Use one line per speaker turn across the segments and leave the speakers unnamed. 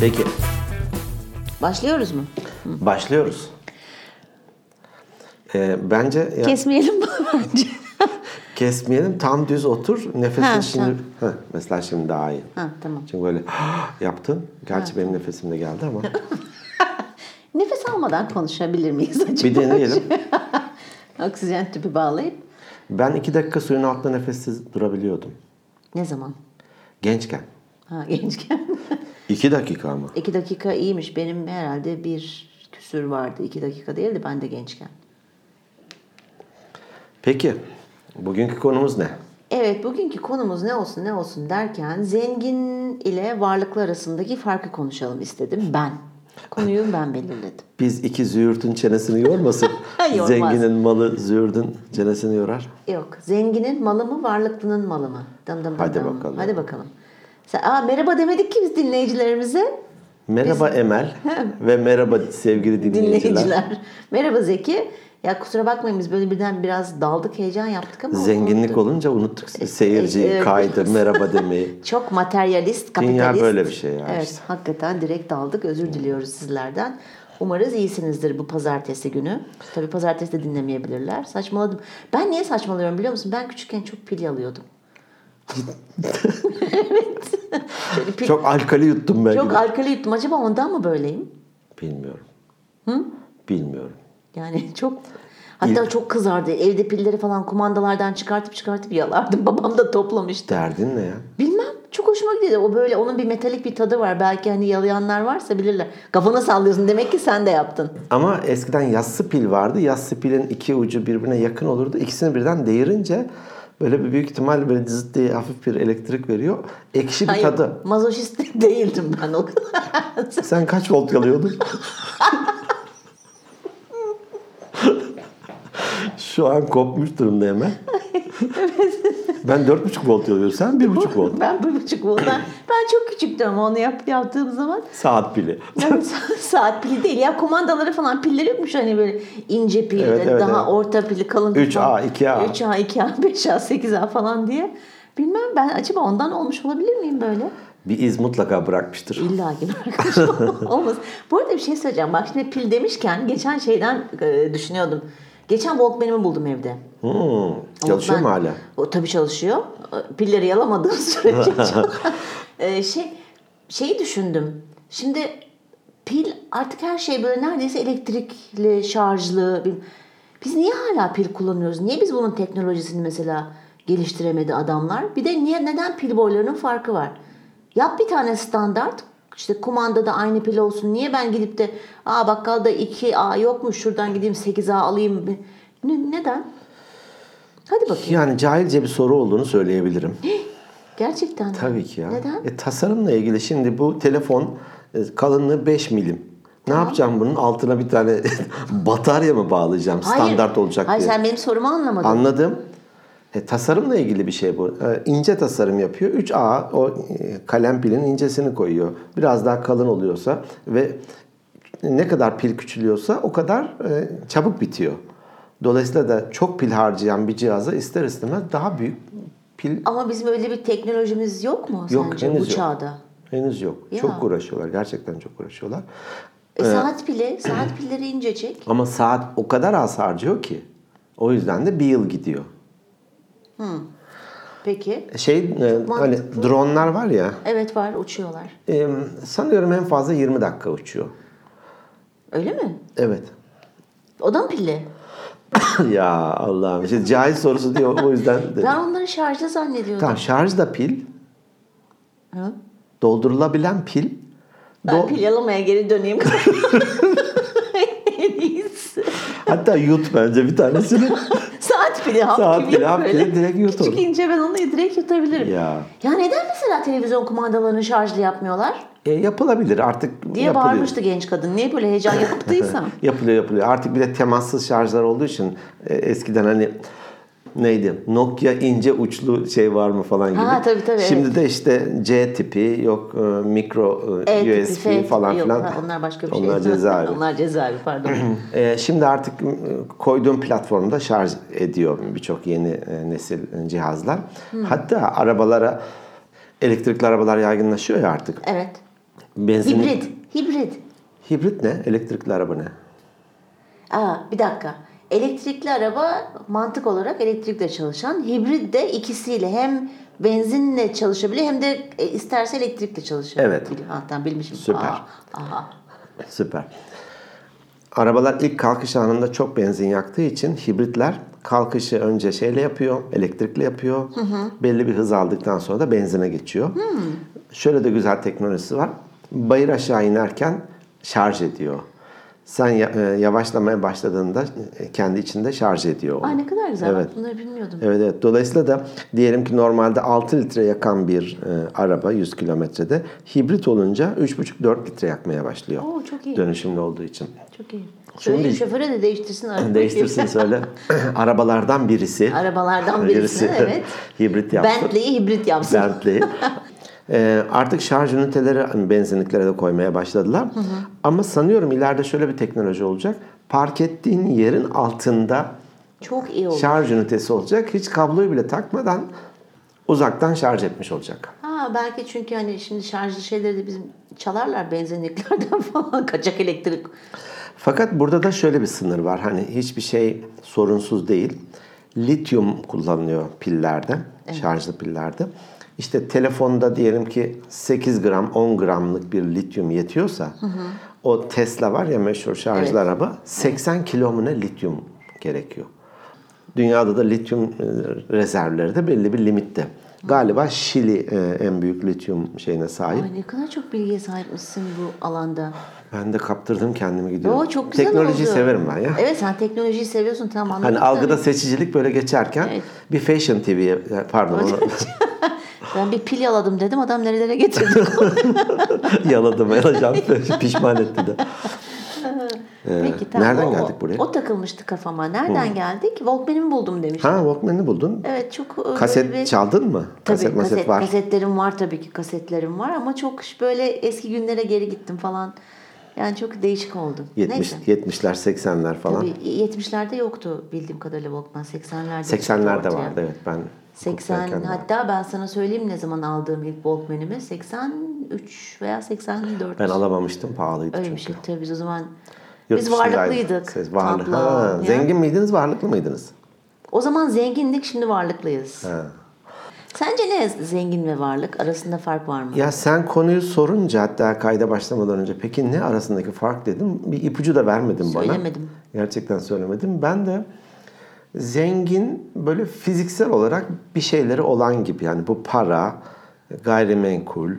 Peki
Başlıyoruz mu?
başlıyoruz. Ee, bence ya-
Kesmeyelim mi bence?
kesmeyelim tam düz otur. Nefesin
Ha,
şimdi Heh, mesela şimdi daha iyi.
ha tamam.
Çünkü böyle yaptın. Gerçi benim nefesim de geldi ama
Nefes almadan konuşabilir miyiz acaba?
bir deneyelim.
Oksijen tüpü bağlayıp
Ben iki dakika suyun altında nefessiz durabiliyordum.
ne zaman?
Gençken.
Ha gençken.
İki dakika ama.
iki dakika iyiymiş. Benim herhalde bir küsür vardı. iki dakika değildi ben de gençken.
Peki bugünkü konumuz ne?
Evet bugünkü konumuz ne olsun ne olsun derken zengin ile varlıklı arasındaki farkı konuşalım istedim ben. Konuyu ben belirledim.
Biz iki züğürtün çenesini yormasın.
Yormaz.
Zenginin malı züğürdün çenesini yorar.
Yok. Zenginin malı mı, varlıklının malı mı? Dım dım dım
Hadi
dım.
bakalım.
Hadi bakalım. Sen, aa, merhaba demedik ki biz dinleyicilerimize.
Merhaba Emel ve merhaba sevgili dinleyiciler.
Dinleyiciler. merhaba Zeki. Ya kusura bakmayın biz böyle birden biraz daldık, heyecan yaptık ama.
Zenginlik olunca unuttuk seyirciyi,
evet.
kaydı, merhaba demeyi.
Çok materyalist, kapitalist.
böyle bir şey ya
Evet,
işte.
hakikaten direkt daldık. Özür diliyoruz sizlerden. Umarız iyisinizdir bu pazartesi günü. Tabii pazartesi de dinlemeyebilirler. Saçmaladım. Ben niye saçmalıyorum biliyor musun? Ben küçükken çok pil alıyordum. evet. Şöyle pil- çok,
Çok alkali yuttum ben. gibi.
alkali yuttum. Acaba ondan mı böyleyim?
Bilmiyorum. Bilmiyorum.
Yani çok hatta çok kızardı. Evde pilleri falan kumandalardan çıkartıp çıkartıp yalardım. Babam da toplamıştı.
Derdin ne ya?
Bilmem çok hoşuma gidiyordu. O böyle onun bir metalik bir tadı var. Belki hani yalayanlar varsa bilirler. Kafana sallıyorsun demek ki sen de yaptın.
Ama eskiden yassı pil vardı. Yassı pilin iki ucu birbirine yakın olurdu. İkisini birden değirince böyle bir büyük ihtimal böyle dızıt diye hafif bir elektrik veriyor. Ekşi bir
Hayır
tadı.
mazoşist değildim ben o kadar.
Sen kaç volt alıyordun? Şu an kopmuş durumda hemen. Ben 4,5 volt alıyorum. Sen 1,5 volt.
ben bir buçuk voltan. Ben çok küçüktüm ama onu yap, yaptığım zaman.
Saat pili.
Yani saat pili değil ya kumandaları falan pilleri yokmuş hani böyle ince pil,
Evet, evet,
daha
evet.
orta pili, kalın pil
3A,
falan.
2A.
3A, 2A, 5A, 8A falan diye. Bilmem ben acaba ondan olmuş olabilir miyim böyle?
Bir iz mutlaka bırakmıştır.
İlla ki arkadaş olmaz. Bu arada bir şey söyleyeceğim. Bak şimdi pil demişken geçen şeyden e, düşünüyordum. Geçen Walkman'imi buldum evde.
Hmm, çalışıyor
Ben-
mu hala?
O tabii çalışıyor. E, Pilleri yalamadığım sürece çalışıyor. E, şey şeyi düşündüm. Şimdi pil artık her şey böyle neredeyse elektrikli, şarjlı. Bil- Biz niye hala pil kullanıyoruz? Niye biz bunun teknolojisini mesela geliştiremedi adamlar? Bir de niye neden pil boylarının farkı var? Yap bir tane standart. İşte kumandada aynı pil olsun. Niye ben gidip de aa bakkalda 2A yokmuş şuradan gideyim 8A alayım. Ne, neden? Hadi bakayım.
Yani cahilce bir soru olduğunu söyleyebilirim.
Gerçekten. mi?
Tabii ki ya.
Neden?
E, tasarımla ilgili şimdi bu telefon e, kalınlığı 5 milim. Ne yapacağım bunun? Altına bir tane batarya mı bağlayacağım?
Hayır.
Standart olacak
Hayır
diye.
sen benim sorumu anlamadın.
Anladım. E, tasarımla ilgili bir şey bu. E, ince tasarım yapıyor. 3A o e, kalem pilin incesini koyuyor. Biraz daha kalın oluyorsa ve ne kadar pil küçülüyorsa o kadar e, çabuk bitiyor. Dolayısıyla da çok pil harcayan bir cihaza ister istemez daha büyük pil
Ama bizim öyle bir teknolojimiz yok mu
Yok,
sence
henüz
bu
yok.
çağda?
henüz yok.
Ya.
Çok uğraşıyorlar. Gerçekten çok uğraşıyorlar.
E, saat pili, saat pilleri incecik.
Ama saat o kadar az harcıyor ki. O yüzden de bir yıl gidiyor.
Peki.
Şey e, hani dronlar var ya.
Evet var uçuyorlar.
Ee, sanıyorum en fazla 20 dakika uçuyor.
Öyle mi?
Evet.
O da mı pilli?
ya Allah'ım. İşte cahil sorusu diyor o yüzden. dedim.
Ben onları şarjlı zannediyordum.
Tamam şarj da pil.
Hı?
Doldurulabilen pil.
Ben
Do-
pil yalamaya geri döneyim. En iyisi.
Hatta yut bence bir tanesini.
Saat pili hap
Saat
gibi
pili, hap
böyle.
pili, direkt yut
Küçük
onu.
ince ben onu direkt yutabilirim.
Ya.
ya neden mesela televizyon kumandalarını şarjlı yapmıyorlar?
E, yapılabilir artık
Diye
yapılıyor.
bağırmıştı genç kadın. Niye böyle heyecan yaptıysam.
Yapılıyor yapılıyor. Artık bir de temassız şarjlar olduğu için e, eskiden hani neydi Nokia ince uçlu şey var mı falan gibi.
Ha, tabii, tabii,
Şimdi de işte C tipi yok e, mikro e,
E tipi,
USB
F tipi.
falan
Yok,
filan.
ha, Onlar başka bir
Onlar
şey.
cezaevi.
onlar cezaevi pardon.
E, şimdi artık e, koyduğum platformda şarj ediyor birçok yeni e, nesil e, cihazlar. Hatta arabalara elektrikli arabalar yaygınlaşıyor ya artık.
evet.
Benzin...
Hibrit. Hibrit.
Hibrit ne? Elektrikli araba ne?
Aa, bir dakika. Elektrikli araba mantık olarak elektrikle çalışan. Hibrit de ikisiyle hem benzinle çalışabiliyor hem de e, isterse elektrikle çalışabiliyor.
Evet.
Ha, tamam bilmişim.
Süper.
Aa, aha.
Süper. Arabalar ilk kalkış anında çok benzin yaktığı için hibritler kalkışı önce şeyle yapıyor, elektrikle yapıyor. Belli bir hız aldıktan sonra da benzine geçiyor. Şöyle de güzel teknolojisi var. Bayır aşağı inerken şarj ediyor. Sen ya- e, yavaşlamaya başladığında e, kendi içinde şarj ediyor. onu.
Aa, ne kadar güzel.
Evet.
Bak, Bunları bilmiyordum.
Evet evet. Dolayısıyla da diyelim ki normalde 6 litre yakan bir e, araba 100 kilometrede hibrit olunca 3,5-4 litre yakmaya başlıyor.
Oo, çok iyi.
Dönüşümlü olduğu için.
Çok iyi.
Şunu
Şöyle
değil.
şoföre de değiştirsin arabayı.
Değiştirsin söyle. Arabalardan birisi.
Arabalardan birisini, evet.
hibrit yapsın.
Bentley'i hibrit yapsın.
Bentley. Ee, artık şarj üniteleri hani benzinliklere de koymaya başladılar. Ama sanıyorum ileride şöyle bir teknoloji olacak. Park ettiğin yerin altında
Çok iyi oldu.
şarj ünitesi olacak. Hiç kabloyu bile takmadan uzaktan şarj etmiş olacak.
Ha belki çünkü hani şimdi şarjlı şeyleri de bizim çalarlar benzinliklerden falan kaçak elektrik.
Fakat burada da şöyle bir sınır var. Hani hiçbir şey sorunsuz değil. Lityum kullanılıyor pillerde, şarjlı pillerde. İşte telefonda diyelim ki 8 gram, 10 gramlık bir lityum yetiyorsa o Tesla var ya meşhur şarjlı
Evet.
araba 80 kilo mu ne lityum gerekiyor. Dünyada da lityum e, rezervleri de belli bir limitte. Galiba Şili e, en büyük lityum şeyine sahip.
Ay ne kadar çok bilgiye sahipmişsin bu alanda.
Ben de kaptırdım kendimi gidiyorum.
Oo çok güzel
Teknolojiyi
oldu.
severim ben ya.
Evet sen teknolojiyi seviyorsun tamam anladım.
Hani algıda seçicilik böyle geçerken
Evet.
bir Fashion TV'ye pardon onu
hani Ben bir pil yaladım dedim adam nerelere getirdi.
yaladım yalacağım pişman etti de.
Peki
nereden
o-
geldik buraya?
O takılmıştı kafama. Nereden geldik? Walkman'imi buldum demiş.
Ha Walkman'ı buldun.
Evet çok e,
Kaset
böyle bir-
çaldın mı?
Tabii,
kaset maset var.
Kasetlerim var tabii ki kasetlerim var ama çok böyle eski günlere geri gittim falan. Yani çok değişik oldu.
70
Neyse.
70'ler 80'ler falan.
Tabii 70'lerde yoktu bildiğim kadarıyla Walkman 80'lerde. çıktı
80'lerde
ortaya.
vardı evet ben.
80
okuldayken vardı.
hatta ben sana söyleyeyim ne zaman aldığım ilk Walkman'imi 83 veya 84.
Ben alamamıştım pahalıydı
Öyle bir
çünkü.
şey. Tabii biz o zaman
Yurt
biz
dışındaydı.
varlıklıydık.
Siz varlı-
Tabla,
ha,
ya.
Zengin miydiniz varlıklı mıydınız?
O zaman zengindik şimdi varlıklıyız. Sence ne zengin ve varlık arasında fark var mı?
Ya sen konuyu sorunca hatta kayda başlamadan önce peki ne arasındaki fark dedim. Bir ipucu da vermedin bana.
Söylemedim.
Gerçekten söylemedim. Ben de zengin böyle fiziksel olarak bir şeyleri olan gibi yani bu para, gayrimenkul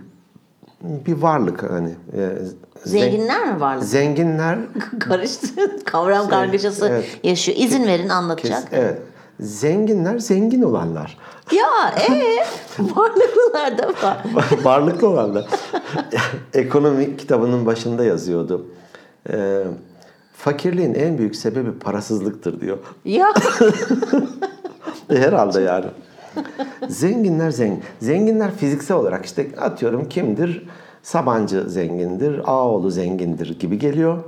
bir varlık hani. e, zen-
Zenginler mi varlık?
Zenginler
Karıştı. Kavram kargaşası
evet.
yaşıyor. İzin verin
kes-
anlatacak.
evet. Zenginler zengin olanlar.
Ya ee varlıklılar da var.
Varlıklı olanlar. Ekonomi kitabının başında yazıyordu. Ee, fakirliğin en büyük sebebi parasızlıktır diyor.
Ya
E, Herhalde yani. Zenginler zengin. Zenginler fiziksel olarak işte atıyorum kimdir? Sabancı zengindir, Ağoğlu zengindir gibi geliyor.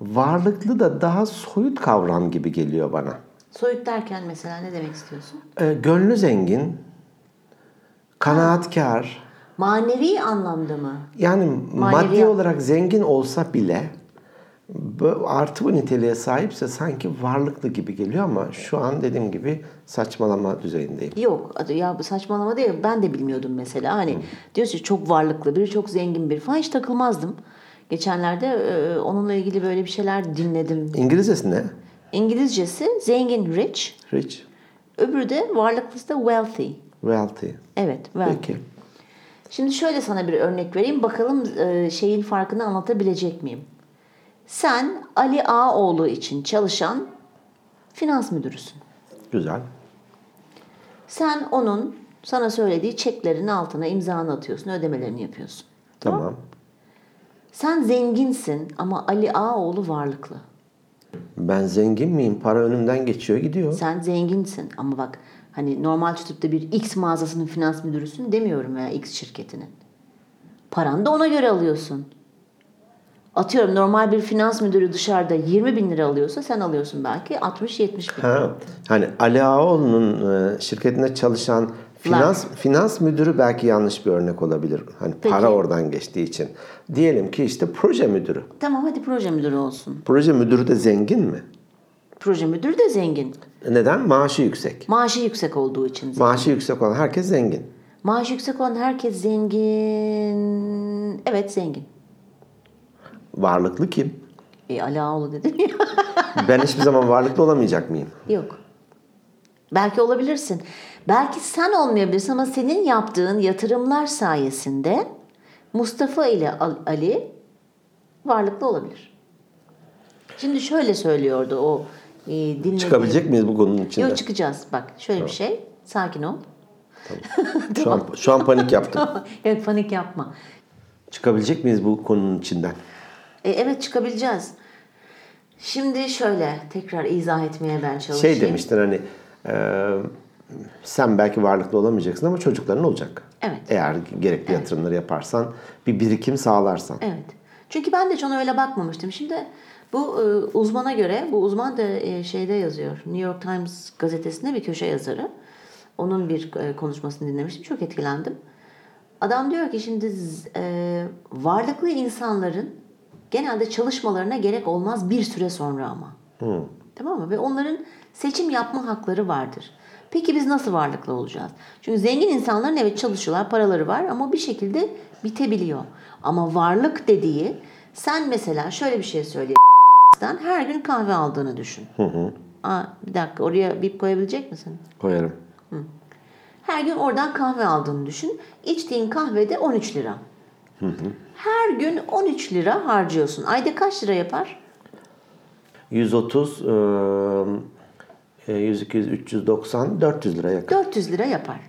Varlıklı da daha soyut kavram gibi geliyor bana.
soyut derken mesela ne demek istiyorsun?
E, gönlü zengin, kanaatkar.
Manevi anlamda mı?
Yani maddi
Maneviyat.
olarak zengin olsa bile bu artı bu niteliğe sahipse sanki varlıklı gibi geliyor ama şu an dediğim gibi saçmalama düzeyindeyim.
Yok adı- ya bu saçmalama değil ben de bilmiyordum mesela hani diyorsun ki çok varlıklı biri çok zengin biri falan hiç takılmazdım. Geçenlerde e, onunla ilgili böyle bir şeyler dinledim.
İngilizcesi ne?
İngilizcesi zengin rich,
Rich,
öbürü de varlıklısı da wealthy.
wealthy.
Evet wealthy.
Peki.
Şimdi şöyle sana bir örnek vereyim. Bakalım e, şeyin farkını anlatabilecek miyim? Sen Ali Ağaoğlu için çalışan finans müdürüsün.
Güzel.
Sen onun sana söylediği çeklerin altına imzanı atıyorsun, ödemelerini yapıyorsun.
Tamam.
Sen zenginsin ama Ali Ağaoğlu varlıklı.
Ben zengin miyim? Para önümden geçiyor gidiyor.
Sen zenginsin ama bak hani normal tutup da bir X mağazasının finans müdürüsün demiyorum veya X şirketinin. Paran da ona göre alıyorsun. Atıyorum normal bir finans müdürü dışarıda 20 bin lira alıyorsa sen alıyorsun belki 60-70 bin.
Ha. Hani Ali Ağaoğlu'nun e, şirketinde çalışan Finans finans müdürü belki yanlış bir örnek olabilir. Hani
Peki.
para oradan geçtiği için. Diyelim ki işte proje müdürü.
Tamam hadi proje müdürü olsun.
Proje müdürü de zengin mi?
Proje müdürü de zengin.
Neden? Maaşı yüksek.
Maaşı yüksek olduğu için. zengin.
Maaşı yüksek olan herkes zengin.
Maaşı yüksek olan herkes zengin. Evet zengin.
Varlıklı kim?
E Alaoğlu dedin ya.
Ben hiçbir zaman varlıklı olamayacak mıyım?
Yok. Belki olabilirsin. Belki sen olmayabilirsin ama senin yaptığın yatırımlar sayesinde Mustafa ile Al- Ali varlıklı olabilir. Şimdi şöyle söylüyordu o e, dinlediğim.
Çıkabilecek miyiz bu konunun içinde?
Yok çıkacağız. Bak şöyle bir şey. Sakin ol.
Şu an, şu an panik yaptım.
Yok panik yapma.
Çıkabilecek miyiz bu konunun içinden?
E, evet çıkabileceğiz. Şimdi şöyle tekrar izah etmeye ben çalışayım.
Şey demiştin hani e, sen belki varlıklı olamayacaksın ama çocukların olacak.
Evet.
Eğer gerekli yatırımları yaparsan, bir birikim sağlarsan.
Evet. Çünkü ben de hiç ona öyle bakmamıştım. Şimdi bu e, uzmana göre, bu uzman da e, şeyde yazıyor. New York Times gazetesinde bir köşe yazarı. Onun bir e, konuşmasını dinlemiştim. Çok etkilendim. Adam diyor ki şimdi z- e, varlıklı insanların genelde çalışmalarına gerek olmaz bir süre sonra ama. Tamam mı? Ve onların seçim yapma hakları vardır. Peki biz nasıl varlıklı olacağız? Çünkü zengin insanların evet çalışıyorlar, paraları var ama bir şekilde bitebiliyor. Ama varlık dediği sen mesela şöyle bir şey söyleyeyim. Sen her gün kahve aldığını düşün. Aa, bir dakika oraya bip koyabilecek misin?
Koyarım.
Her gün oradan kahve aldığını düşün. İçtiğin kahvede 13 lira. Her gün 13 lira harcıyorsun. Ayda kaç lira yapar?
130, e, 100, 200, 390, 400 lira yakın.
400 lira yapar.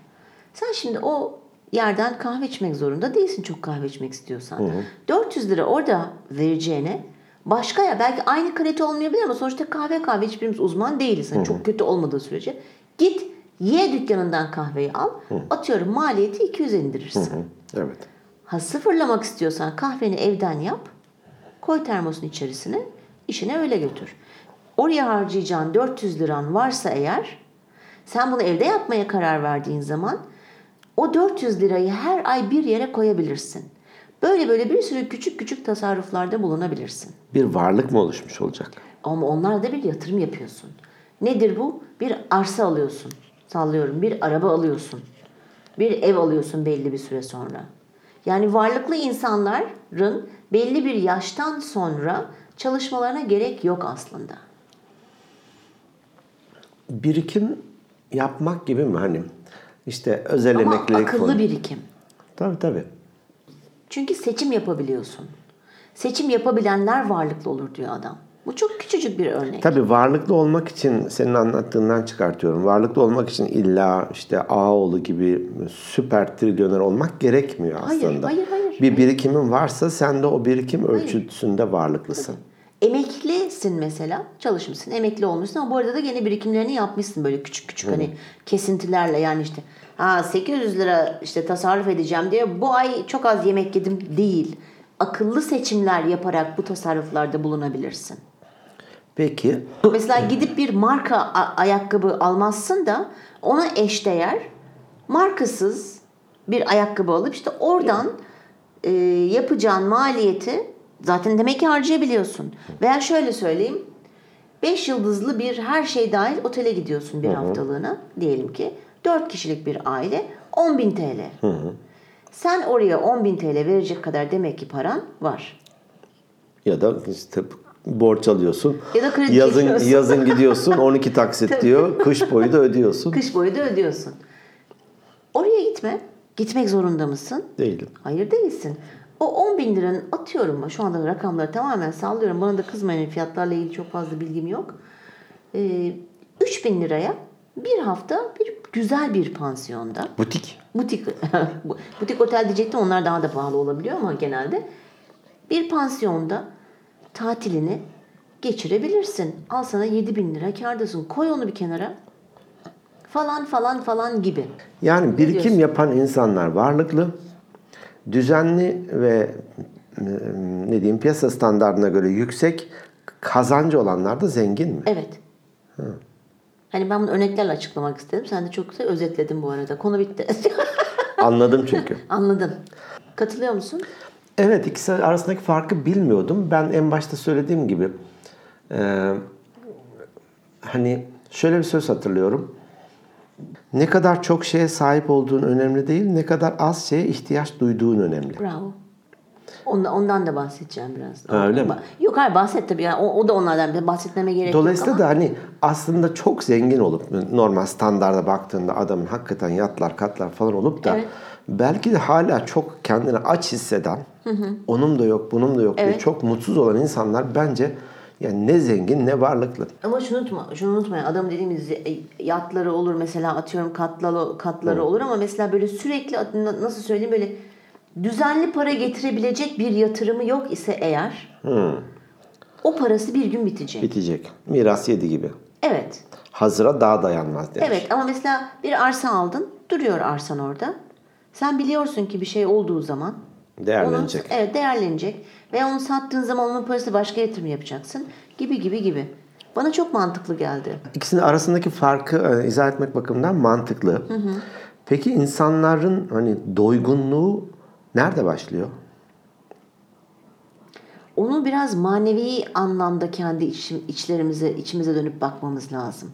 Sen şimdi o yerden kahve içmek zorunda değilsin çok kahve içmek istiyorsan. 400 lira orada vereceğine başka ya belki aynı kalite olmayabilir ama sonuçta kahve kahve hiçbirimiz uzman değiliz. Hani çok kötü olmadığı sürece git ye dükkanından kahveyi al. Atıyorum maliyeti 200 indirirsin.
Hı, Evet.
Ha sıfırlamak istiyorsan kahveni evden yap. Koy termosun içerisine. işine öyle götür. Oraya harcayacağın 400 liran varsa eğer sen bunu evde yapmaya karar verdiğin zaman o 400 lirayı her ay bir yere koyabilirsin. Böyle böyle bir sürü küçük küçük tasarruflarda bulunabilirsin.
Bir varlık mı oluşmuş olacak?
Ama onlar da bir yatırım yapıyorsun. Nedir bu? Bir arsa alıyorsun. Sallıyorum. Bir araba alıyorsun. Bir ev alıyorsun belli bir süre sonra. Yani varlıklı insanların belli bir yaştan sonra çalışmalarına gerek yok aslında.
Birikim yapmak gibi mi hani? İşte özel
Ama
emeklilik
akıllı
fonu.
birikim.
Tabii tabii.
Çünkü seçim yapabiliyorsun. Seçim yapabilenler varlıklı olur diyor adam. Bu çok küçücük bir örnek.
Tabii varlıklı olmak için senin anlattığından çıkartıyorum. Varlıklı olmak için illa işte Ağoğlu gibi süper trilyoner olmak gerekmiyor
Hayır,
aslında.
hayır, hayır,
Bir birikimin varsa sen de o birikim ölçüsünde varlıklısın.
Emeklisin mesela çalışmışsın emekli olmuşsun ama bu arada da gene birikimlerini yapmışsın böyle küçük küçük hani kesintilerle yani işte ha 800 lira işte tasarruf edeceğim diye bu ay çok az yemek yedim değil. Akıllı seçimler yaparak bu tasarruflarda bulunabilirsin.
Peki
Mesela gidip bir marka a- ayakkabı almazsın da ona eşdeğer markasız bir ayakkabı alıp işte oradan e, yapacağın maliyeti zaten demek ki harcayabiliyorsun. Veya şöyle söyleyeyim. 5 yıldızlı bir her şey dahil otele gidiyorsun bir haftalığına diyelim ki. 4 kişilik bir aile 10.000 TL. Sen oraya 10.000 TL verecek kadar demek ki paran var.
ya da işte borç alıyorsun.
Ya da kredi
yazın
çekiyorsun.
yazın gidiyorsun 12 taksit diyor. Kış boyu da ödüyorsun.
Kış boyu da ödüyorsun. Oraya gitme. Gitmek zorunda mısın?
Değilim.
Hayır değilsin. O 10 bin liranın atıyorum şu anda rakamları tamamen sallıyorum. Bana da kızmayın fiyatlarla ilgili çok fazla bilgim yok. Ee, 3 bin liraya bir hafta bir güzel bir pansiyonda
Butik.
butik bu- butik otel diyecektim onlar daha da pahalı olabiliyor ama genelde bir pansiyonda tatilini geçirebilirsin. Al sana 7 bin lira kârdasın. Koy onu bir kenara. Falan falan falan gibi.
Yani
diyorsun?
birikim yapan insanlar varlıklı, düzenli ve e, ne diyeyim piyasa standartına göre yüksek kazancı olanlar da zengin mi?
Evet. Hani ben bunu örneklerle açıklamak istedim. Sen de çok güzel özetledin bu arada. Konu bitti.
Anladım çünkü.
Anladın. Katılıyor musun?
Evet ikisi arasındaki farkı bilmiyordum. Ben en başta söylediğim gibi e, hani şöyle bir söz hatırlıyorum. Ne kadar çok şeye sahip olduğun önemli değil, ne kadar az şeye ihtiyaç duyduğun önemli.
Bravo. Ondan, ondan da bahsedeceğim biraz.
Ha, öyle mi?
Ba- Yok hayır bahset tabii. Yani o, o da onlardan biri. Bahsetmeme gerek
Dolayısıyla
yok ama.
da hani aslında çok zengin olup normal standarda baktığında adamın hakikaten yatlar katlar falan olup da
Evet.
belki de hala çok kendini aç hisseden onun da yok bunun da yok diye
Evet.
çok mutsuz olan insanlar bence yani ne zengin ne varlıklı.
Ama şunu unutma, şunu unutmayın. Adam dediğimiz e, yatları olur mesela atıyorum katlalı, katları olur ama mesela böyle sürekli na- nasıl söyleyeyim böyle düzenli para getirebilecek bir yatırımı yok ise eğer o parası bir gün bitecek.
Bitecek. Miras yedi gibi.
evet.
Hazıra daha dayanmaz demiş.
Evet ama mesela bir arsa aldın. Duruyor arsan orada. Sen biliyorsun ki bir şey olduğu zaman
Değerlenecek.
onun- evet değerlenecek. Ve onu sattığın zaman onun parası başka yatırım yapacaksın. Gibi gibi gibi. Bana çok mantıklı geldi.
İkisinin arasındaki farkı e, izah etmek bakımından mantıklı. Peki insanların hani doygunluğu nerede başlıyor?
Onu biraz manevi anlamda kendi içim- içlerimize, içimize dönüp bakmamız lazım.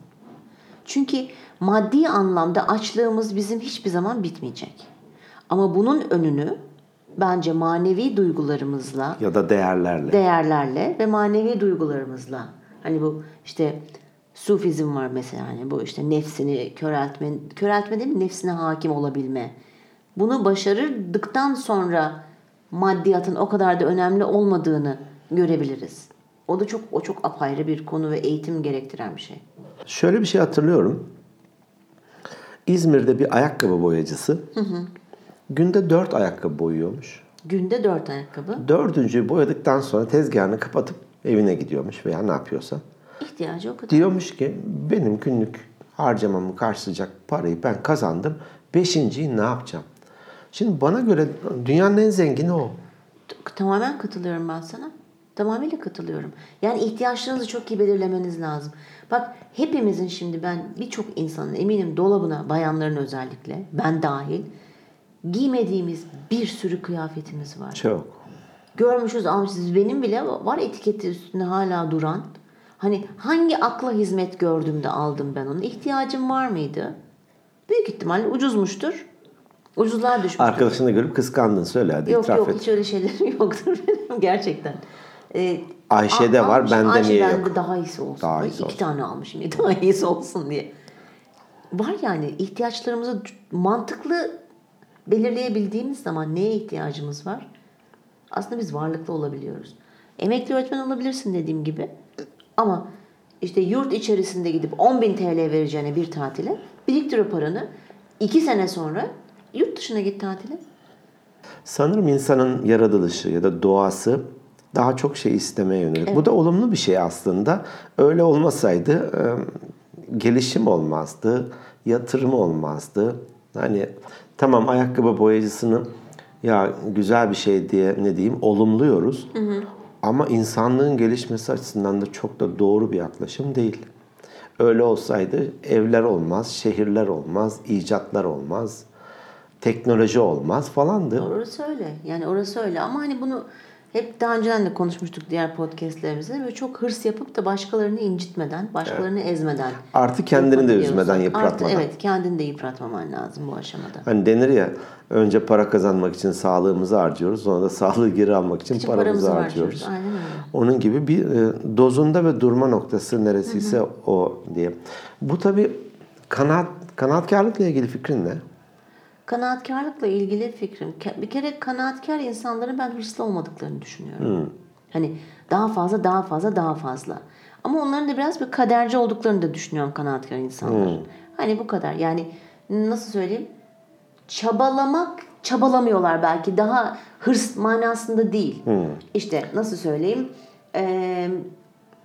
Çünkü maddi anlamda açlığımız bizim hiçbir zaman bitmeyecek. Ama bunun önünü bence manevi duygularımızla
Ya da değerlerle.
değerlerle ve manevi duygularımızla. Hani bu işte sufizm var mesela hani bu işte nefsini köreltme, köreltme değil mi? Nefsine hakim olabilme. Bunu başarırdıktan sonra maddiyatın o kadar da önemli olmadığını görebiliriz. O da çok o çok apayrı bir konu ve eğitim gerektiren bir şey.
Şöyle bir şey hatırlıyorum. İzmir'de bir ayakkabı boyacısı günde dört ayakkabı boyuyormuş.
Günde dört ayakkabı
Dördüncüyü boyadıktan sonra tezgahını kapatıp evine gidiyormuş veya ne yapıyorsa.
ihtiyacı o kadar.
Diyormuş ki benim günlük harcamamı karşılayacak parayı ben kazandım. Beşinciyi ne yapacağım? Şimdi bana göre dünyanın en zengini o.
T- Tamamen katılıyorum ben sana. Tamamıyla katılıyorum. Yani ihtiyaçlarınızı çok iyi belirlemeniz lazım. Bak hepimizin şimdi ben birçok insanın eminim dolabına bayanların özellikle ben dahil giymediğimiz bir sürü kıyafetimiz var.
Çok.
Görmüşüz almışız benim bile var etiketi üstünde hala duran. Hani hangi akla hizmet gördüm de aldım ben onu. İhtiyacım var mıydı? Büyük ihtimalle ucuzmuştur. Ucuzlar düşmüştür.
Arkadaşını da görüp kıskandın söyle hadi
Yok
itiraf
yok
et.
hiç öyle şeylerim yoktur benim gerçekten. Ee,
Ayşe'de
al-
var,
almışım,
bende niye
Ayşe
yok?
bende daha iyisi olsun.
Daha
Ay,
iyisi
İki
olsun.
tane almışım ya daha iyisi olsun diye. Var yani ihtiyaçlarımızı c- mantıklı belirleyebildiğimiz zaman neye ihtiyacımız var? Aslında biz varlıklı olabiliyoruz. Emekli öğretmen olabilirsin dediğim gibi. Ama işte yurt içerisinde gidip 10.000 TL vereceğine bir tatile biriktir o paranı. iki sene sonra yurt dışına git tatile.
Sanırım insanın yaratılışı ya da doğası daha çok şey istemeye yönelik. Bu da olumlu bir şey aslında. Öyle olmasaydı e, gelişim olmazdı, yatırım olmazdı. Hani tamam ayakkabı boyacısını ya güzel bir şey diye ne diyeyim olumluyoruz. Ama insanlığın gelişmesi açısından da çok da doğru bir yaklaşım değil. Öyle olsaydı evler olmaz, şehirler olmaz, icatlar olmaz, teknoloji olmaz falandı.
Orası öyle. Yani orası öyle. Ama hani bunu hep daha önceden de konuşmuştuk diğer podcastlerimizde. Böyle çok hırs yapıp da başkalarını incitmeden, başkalarını ezmeden.
Artı kendini de
yapabiliyorsun.
üzmeden,
Artı
yıpratmadan.
evet kendini de yıpratmaman lazım bu aşamada.
Hani denir ya önce para kazanmak için sağlığımızı harcıyoruz. Sonra da sağlığı geri almak için
Hiç
paramızı, harcıyoruz.
harcıyoruz. Aynen öyle.
Onun gibi bir e, dozunda ve durma noktası neresiyse o diye. Bu tabii kanaat, kanaatkarlıkla ilgili fikrin ne?
Kanaatkarlıkla ilgili fikrim. ke- Bir kere kanaatkar insanların ben hırslı olmadıklarını düşünüyorum.
Hmm.
Hani daha fazla, daha fazla, daha fazla. Ama onların da biraz bir kaderci olduklarını da düşünüyorum kanaatkar insanların.
Hmm.
Hani bu kadar. Yani nasıl söyleyeyim? Çabalamak, çabalamıyorlar belki. Daha hırs manasında değil. İşte nasıl söyleyeyim? Ee,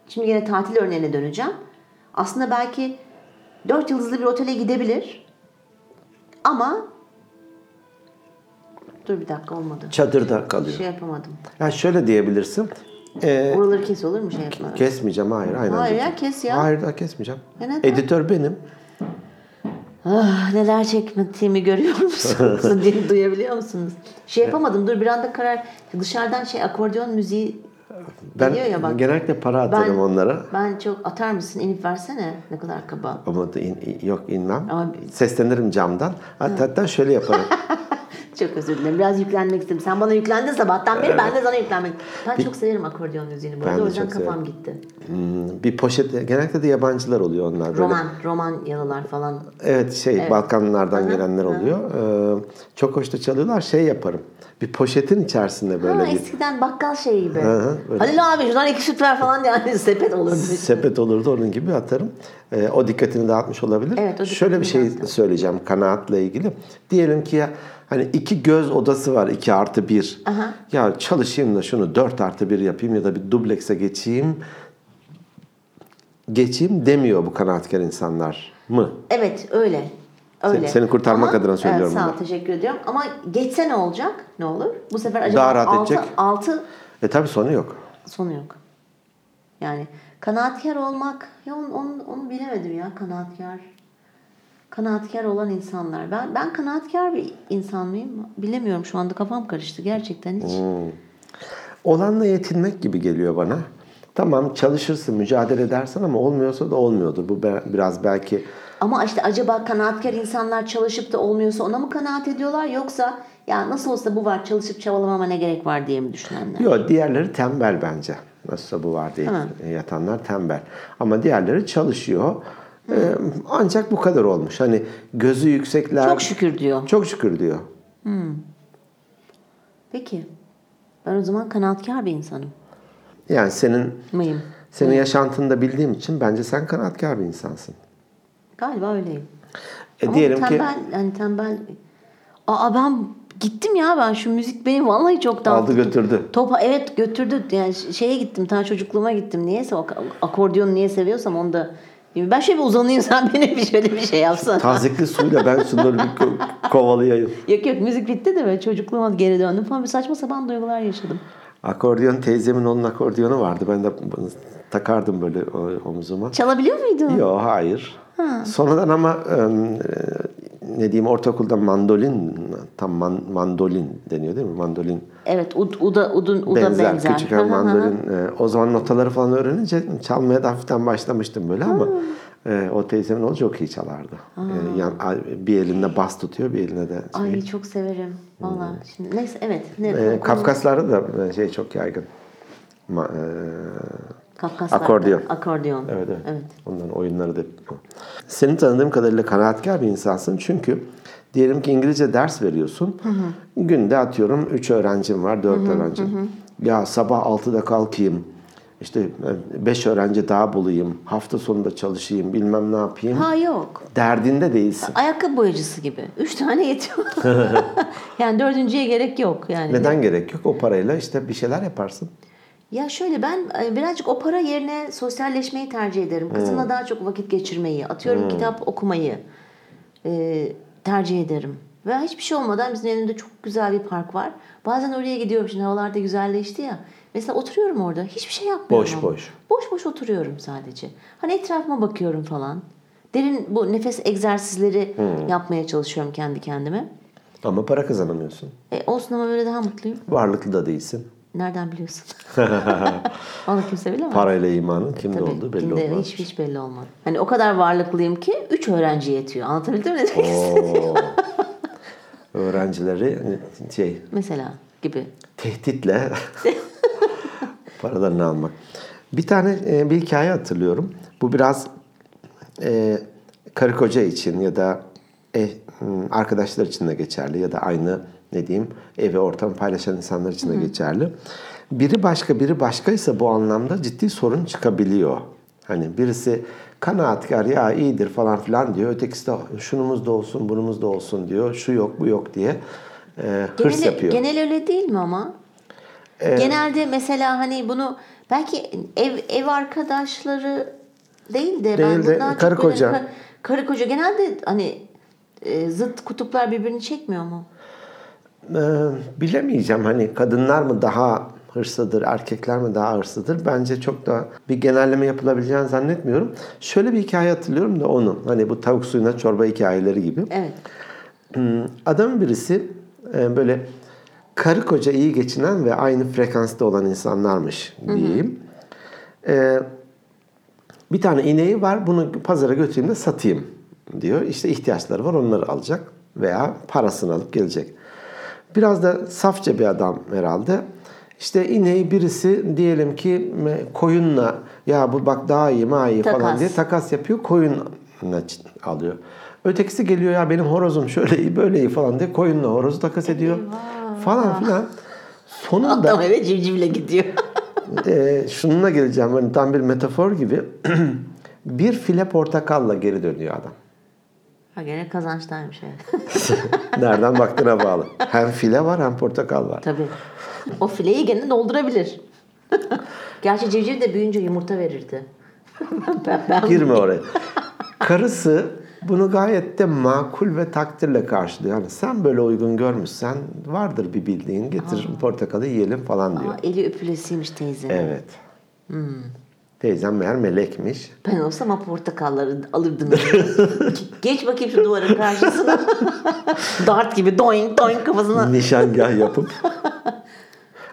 şimdi yine tatil örneğine döneceğim. Aslında belki dört yıldızlı bir otele gidebilir. Ama dur bir dakika olmadı.
Çadırda kalıyor.
Şey yapamadım.
Yani şöyle diyebilirsin. Ee,
Oraları kes olur mu şey yapma?
Kesmeyeceğim hayır. Aynen
Hayır
dedim.
ya, kes ya.
Hayır da kesmeyeceğim.
Ya neden?
Editör benim.
Ah, neler çekmediğimi görüyor musunuz? diye duyabiliyor musunuz? Şey yapamadım dur bir anda karar. Dışarıdan şey akordeon müziği
Ben
geliyor ya bak.
genellikle para atarım
Ben-
onlara.
Ben çok atar mısın inip versene ne kadar kaba.
Ama da in- yok inmem.
Ama-
Seslenirim camdan. Hatta, hatta şöyle yaparım.
Çok özür dilerim. Biraz yüklenmek istedim. Sen bana yüklendin sabahtan beri ben de sana yüklenmek. Ben çok severim akordeon müziğini bu
Ben
arada.
de
O yüzden
çok severim.
kafam gitti.
Hmm, bir poşet genellikle de yabancılar oluyor onlar böyle.
Roman, roman yalılar falan.
Evet şey Balkanlardan
Aha,
gelenler
aha.
oluyor. Ee, çok hoşta çalıyorlar. Şey yaparım. Bir poşetin içerisinde böyle
Ha,
bir
eskiden bakkal şeyi gibi.
hı, öyle.
Halil abi şunlar iki süt ver falan yani sepet olurdu.
sepet olurdu onun gibi atarım. Ee, o dikkatini dağıtmış olabilir.
Evet, o dikkatini
Şöyle bir şey
dağıttı.
söyleyeceğim kanaatle ilgili. Diyelim ki ya, hani iki göz odası var 2 artı 1.
Aha.
Ya çalışayım da şunu 4 artı 1 yapayım ya da bir dublekse geçeyim. Geçeyim demiyor bu kanaatkar insanlar mı?
Evet öyle. Öyle.
Seni- seni kurtarmak
Ama-
adına söylüyorum
Evet, sağ ol,
bunu.
teşekkür ediyorum. Ama geçse ne olacak? Ne olur? Bu sefer acaba
Daha rahat
altı,
edecek.
altı
E tabi sonu yok.
sonu yok. Yani kanaatkar olmak, ya onu, onu, onu bilemedim ya kanaatkar. Kanaatkar olan insanlar. Ben ben kanaatkar bir insan mıyım? Bilemiyorum şu anda kafam karıştı gerçekten hiç.
Olanla yetinmek gibi geliyor bana. Tamam çalışırsın, mücadele edersin ama olmuyorsa da olmuyordur. Bu be- biraz belki
Ama işte acaba kanaatkar insanlar çalışıp da olmuyorsa ona mı kanaat ediyorlar yoksa ya nasıl olsa bu var çalışıp çabalamama ne gerek var diye mi düşünenler?
Yok diğerleri tembel bence. Nasılsa bu var değil.
Ha.
Yatanlar tembel. Ama diğerleri çalışıyor. Ee, ancak bu kadar olmuş. Hani gözü yüksekler.
Çok şükür diyor.
Çok şükür diyor.
Peki. Ben o zaman kanaatkar bir insanım.
Yani senin
Mıyım?
senin yaşantını da bildiğim için bence sen kanaatkar bir insansın.
Galiba öyleyim.
E,
Ama
diyelim ki
tembel, yani tembel. Aa ben gittim ya ben şu müzik beni vallahi çok dağıttı.
Aldı götürdü.
Topa evet götürdü. Yani ş- şeye gittim ta çocukluğuma gittim. Niyeyse o ak- akordiyonu niye seviyorsam onu da ben şöyle bir uzanayım sen beni bir şöyle bir şey yapsana.
tazikli suyla ben şunları bir ko- kovalayayım.
Yok yok müzik bitti de böyle çocukluğuma geri döndüm falan bir saçma sapan duygular yaşadım.
Akordiyon teyzemin onun akordiyonu vardı. Ben de takardım böyle o- omzuma.
Çalabiliyor muydun?
Yok hayır. Sonradan ama e, ne diyeyim ortaokulda mandolin tam man- mandolin deniyor değil mi? Mandolin
Evet ud, uda, udun, uda benzer.
benzer, küçük
Hı
bir
hı hı.
mandolin. E, o zaman notaları falan öğrenince çalmaya da hafiften başlamıştım böyle ama e, o teyzemin oğlu çok iyi çalardı. E, yani a- bir elinde bas tutuyor bir elinde de şey.
Ay çok severim. Valla.
Hmm.
Şimdi neyse evet. Ne,
E,
konu-
Kafkaslarda da e, şey çok yaygın. Ma- e,
Kafkaslar-
Akordeon.
Akordeon.
Evet, evet.
evet.
Onların oyunları da. Seni tanıdığım kadarıyla kanaatkar bir insansın. Çünkü diyelim ki İngilizce ders veriyorsun. Günde atıyorum 3 öğrencim var, 4 öğrencim. Ya sabah 6'da kalkayım. İşte 5 öğrenci daha bulayım. Hafta sonunda çalışayım, bilmem ne yapayım.
Ha yok.
Derdinde değilsin.
Ayakkabı boyacısı gibi. Üç tane yetiyor. yani dördüncüye gerek yok yani.
Neden gerek yok? O parayla işte bir şeyler yaparsın.
Ya şöyle ben e, birazcık o para yerine sosyalleşmeyi tercih ederim. Kızımla
Hmm.
daha çok vakit geçirmeyi, atıyorum kitap okumayı e, tercih ederim. Ve hiçbir şey olmadan bizim evimde çok güzel bir park var. Bazen oraya gidiyorum şimdi havalar da güzelleşti ya. Mesela oturuyorum orada hiçbir şey yapmıyorum.
Boş, boş.
Boş boş oturuyorum sadece. Hani etrafıma bakıyorum falan. Derin bu nefes egzersizleri
Hmm.
yapmaya çalışıyorum kendi kendime.
Ama para kazanamıyorsun.
E, olsun ama böyle daha mutluyum.
Varlıklı da değilsin.
Nereden biliyorsun? Vallahi kimse bilemez.
Parayla imanın kimde
Tabii,
olduğu belli
kimde
olmaz.
Hiç, hiç belli olmaz. Hani o kadar varlıklıyım ki 3 öğrenci yetiyor. Anlatabildim mi? ne demek istediğimi?
Oo. Öğrencileri şey
Mesela gibi.
tehditle paralarını almak. Bir tane e, bir hikaye hatırlıyorum. Bu biraz e, karı koca için ya da e, m, arkadaşlar için de geçerli ya da aynı ne diyeyim evi ortamı paylaşan insanlar için de geçerli. Biri başka biri başkaysa bu anlamda ciddi sorun çıkabiliyor. Hani birisi kanaatkar ya iyidir falan filan diyor. Ötekisi de şunumuz da olsun bunumuz da olsun diyor. Şu yok bu yok diye e, hırs
Genel,
yapıyor. Ee,
genel öyle değil mi ama? Genelde mesela hani bunu belki ev ev arkadaşları değil de ben
Değil de
bundan çok
karı
böyle
koca.
kar- karı koca genelde hani e, zıt kutuplar birbirini çekmiyor mu?
Ee, bilemeyeceğim hani kadınlar mı daha hırslıdır, erkekler mi daha hırslıdır? Bence çok da bir genelleme yapılabileceğini zannetmiyorum. Şöyle bir hikaye hatırlıyorum da onu. Hani bu tavuk suyuna çorba hikayeleri gibi.
Evet.
Hmm, Adam birisi e, böyle karı koca iyi geçinen ve aynı frekansta olan insanlarmış diyeyim. E, bir tane ineği var bunu pazara götüreyim de satayım diyor. İşte ihtiyaçları var onları alacak veya parasını alıp gelecek. Biraz da safça bir adam herhalde. İşte ineği birisi diyelim ki koyunla ya bu bak daha iyi ma iyi falan
Takas.
diye takas yapıyor koyunla alıyor. Ötekisi geliyor ya benim horozum şöyle iyi böyle iyi falan diye koyunla horozu takas ediyor falan filan. Sonunda
Adam eve civcivle gidiyor.
e, şununla geleceğim hani tam bir metafor gibi bir file portakalla geri dönüyor adam.
ha gene kazançtaymış evet.
Nereden baktığına bağlı. Hem file var hem portakal var.
Tabii. O fileyi gene doldurabilir. Gerçi civciv de büyüyünce yumurta verirdi. ben, ben
Girme oraya. Karısı bunu gayet de makul ve takdirle karşılıyor. Yani sen böyle uygun görmüşsen vardır bir bildiğin getir portakalı yiyelim falan diyor.
Aa, eli öpülesiymiş teyze.
Evet. Teyzem meğer melekmiş.
Ben olsam ha portakalları alırdım. Geç bakayım şu duvarın karşısına. Dart gibi doink doink kafasına.
nişangah yapıp.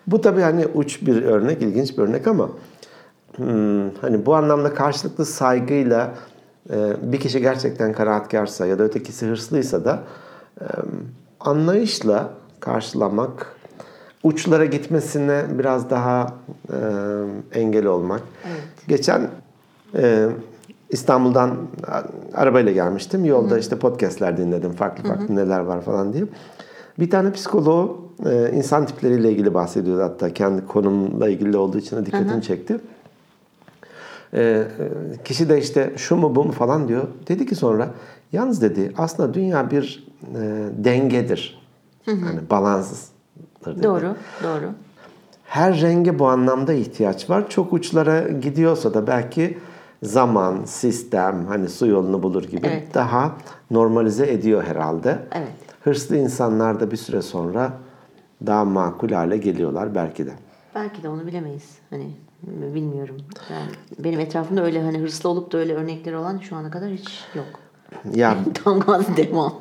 bu tabii hani uç bir örnek, ilginç bir örnek ama hmm, hani bu anlamda karşılıklı saygıyla e, bir kişi gerçekten karahatkarsa ya da ötekisi hırslıysa da e, anlayışla karşılamak, uçlara gitmesine biraz daha e, engel olmak. Geçen e, İstanbul'dan a- arabayla gelmiştim. Yolda işte podcastler dinledim. Farklı farklı neler var falan diye. Bir tane psikoloğu e, insan tipleriyle ilgili bahsediyordu hatta. Kendi konumla ilgili olduğu için de dikkatimi çekti. E, e, kişi de işte şu mu bu mu falan diyor. Dedi ki sonra yalnız dedi aslında dünya bir e, dengedir. Yani balanstır dedi.
doğru, doğru.
Her renge bu anlamda ihtiyaç var. Çok uçlara gidiyorsa da belki zaman, sistem hani su yolunu bulur gibi
Evet.
daha normalize ediyor herhalde.
Evet.
Hırslı insanlar da bir süre sonra daha makul hale geliyorlar belki de.
Belki de onu bilemeyiz. Hani bilmiyorum. Yani benim etrafımda öyle hani hırslı olup da öyle örnekleri olan şu ana kadar hiç yok.
Ya
Tam gaz devam.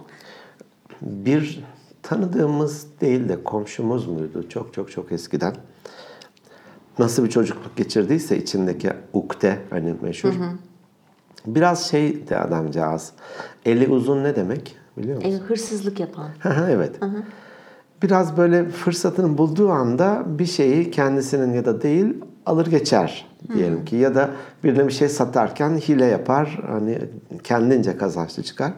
bir tanıdığımız değil de komşumuz muydu çok çok çok eskiden. Nasıl bir çocukluk geçirdiyse içindeki ukde hani meşhur. Biraz şey de adamcağız. Eli uzun ne demek biliyor musun?
E, hırsızlık yapan.
evet. Biraz böyle fırsatını bulduğu anda bir şeyi kendisinin ya da değil alır geçer diyelim ki ya da birine bir şey satarken hile yapar hani kendince kazançlı çıkar.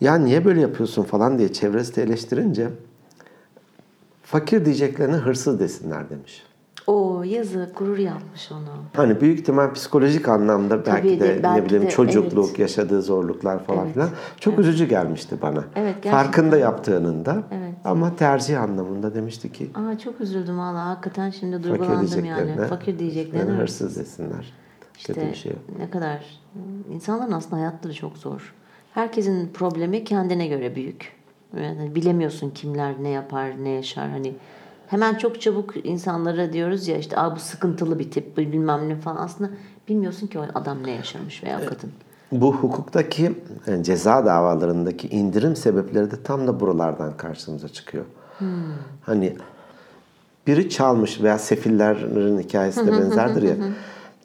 Ya niye böyle yapıyorsun falan diye çevresi de eleştirince fakir diyeceklerine hırsız desinler demiş.
O yazık gurur yapmış onu.
Hani büyük ihtimal psikolojik anlamda belki
Tabii
de,
de, belki
ne bileyim
de,
çocukluk, yaşadığı zorluklar falan filan çok üzücü gelmişti bana.
Evet, gerçekten.
Farkında yaptığının da
Evet.
ama tercih anlamında demişti ki
Aa çok üzüldüm valla. Hakikaten şimdi
fakir
duygulandım
diyeceklerine,
yani. Fakir diyeceklerine hırsız.
hırsız desinler.
İşte
Kötü bir şey.
ne kadar insanların aslında hayatları çok zor. Herkesin problemi kendine göre büyük. Yani bilemiyorsun kimler ne yapar, ne yaşar hani. Hemen çok çabuk insanlara diyoruz ya işte Aa, bu sıkıntılı bir tip bu bilmem ne falan. Aslında bilmiyorsun ki o adam ne yaşamış veya kadın.
Bu hukuktaki yani ceza davalarındaki indirim sebepleri de tam da buralardan karşımıza çıkıyor. Hani biri çalmış veya sefillerin hikayesi de benzerdir ya.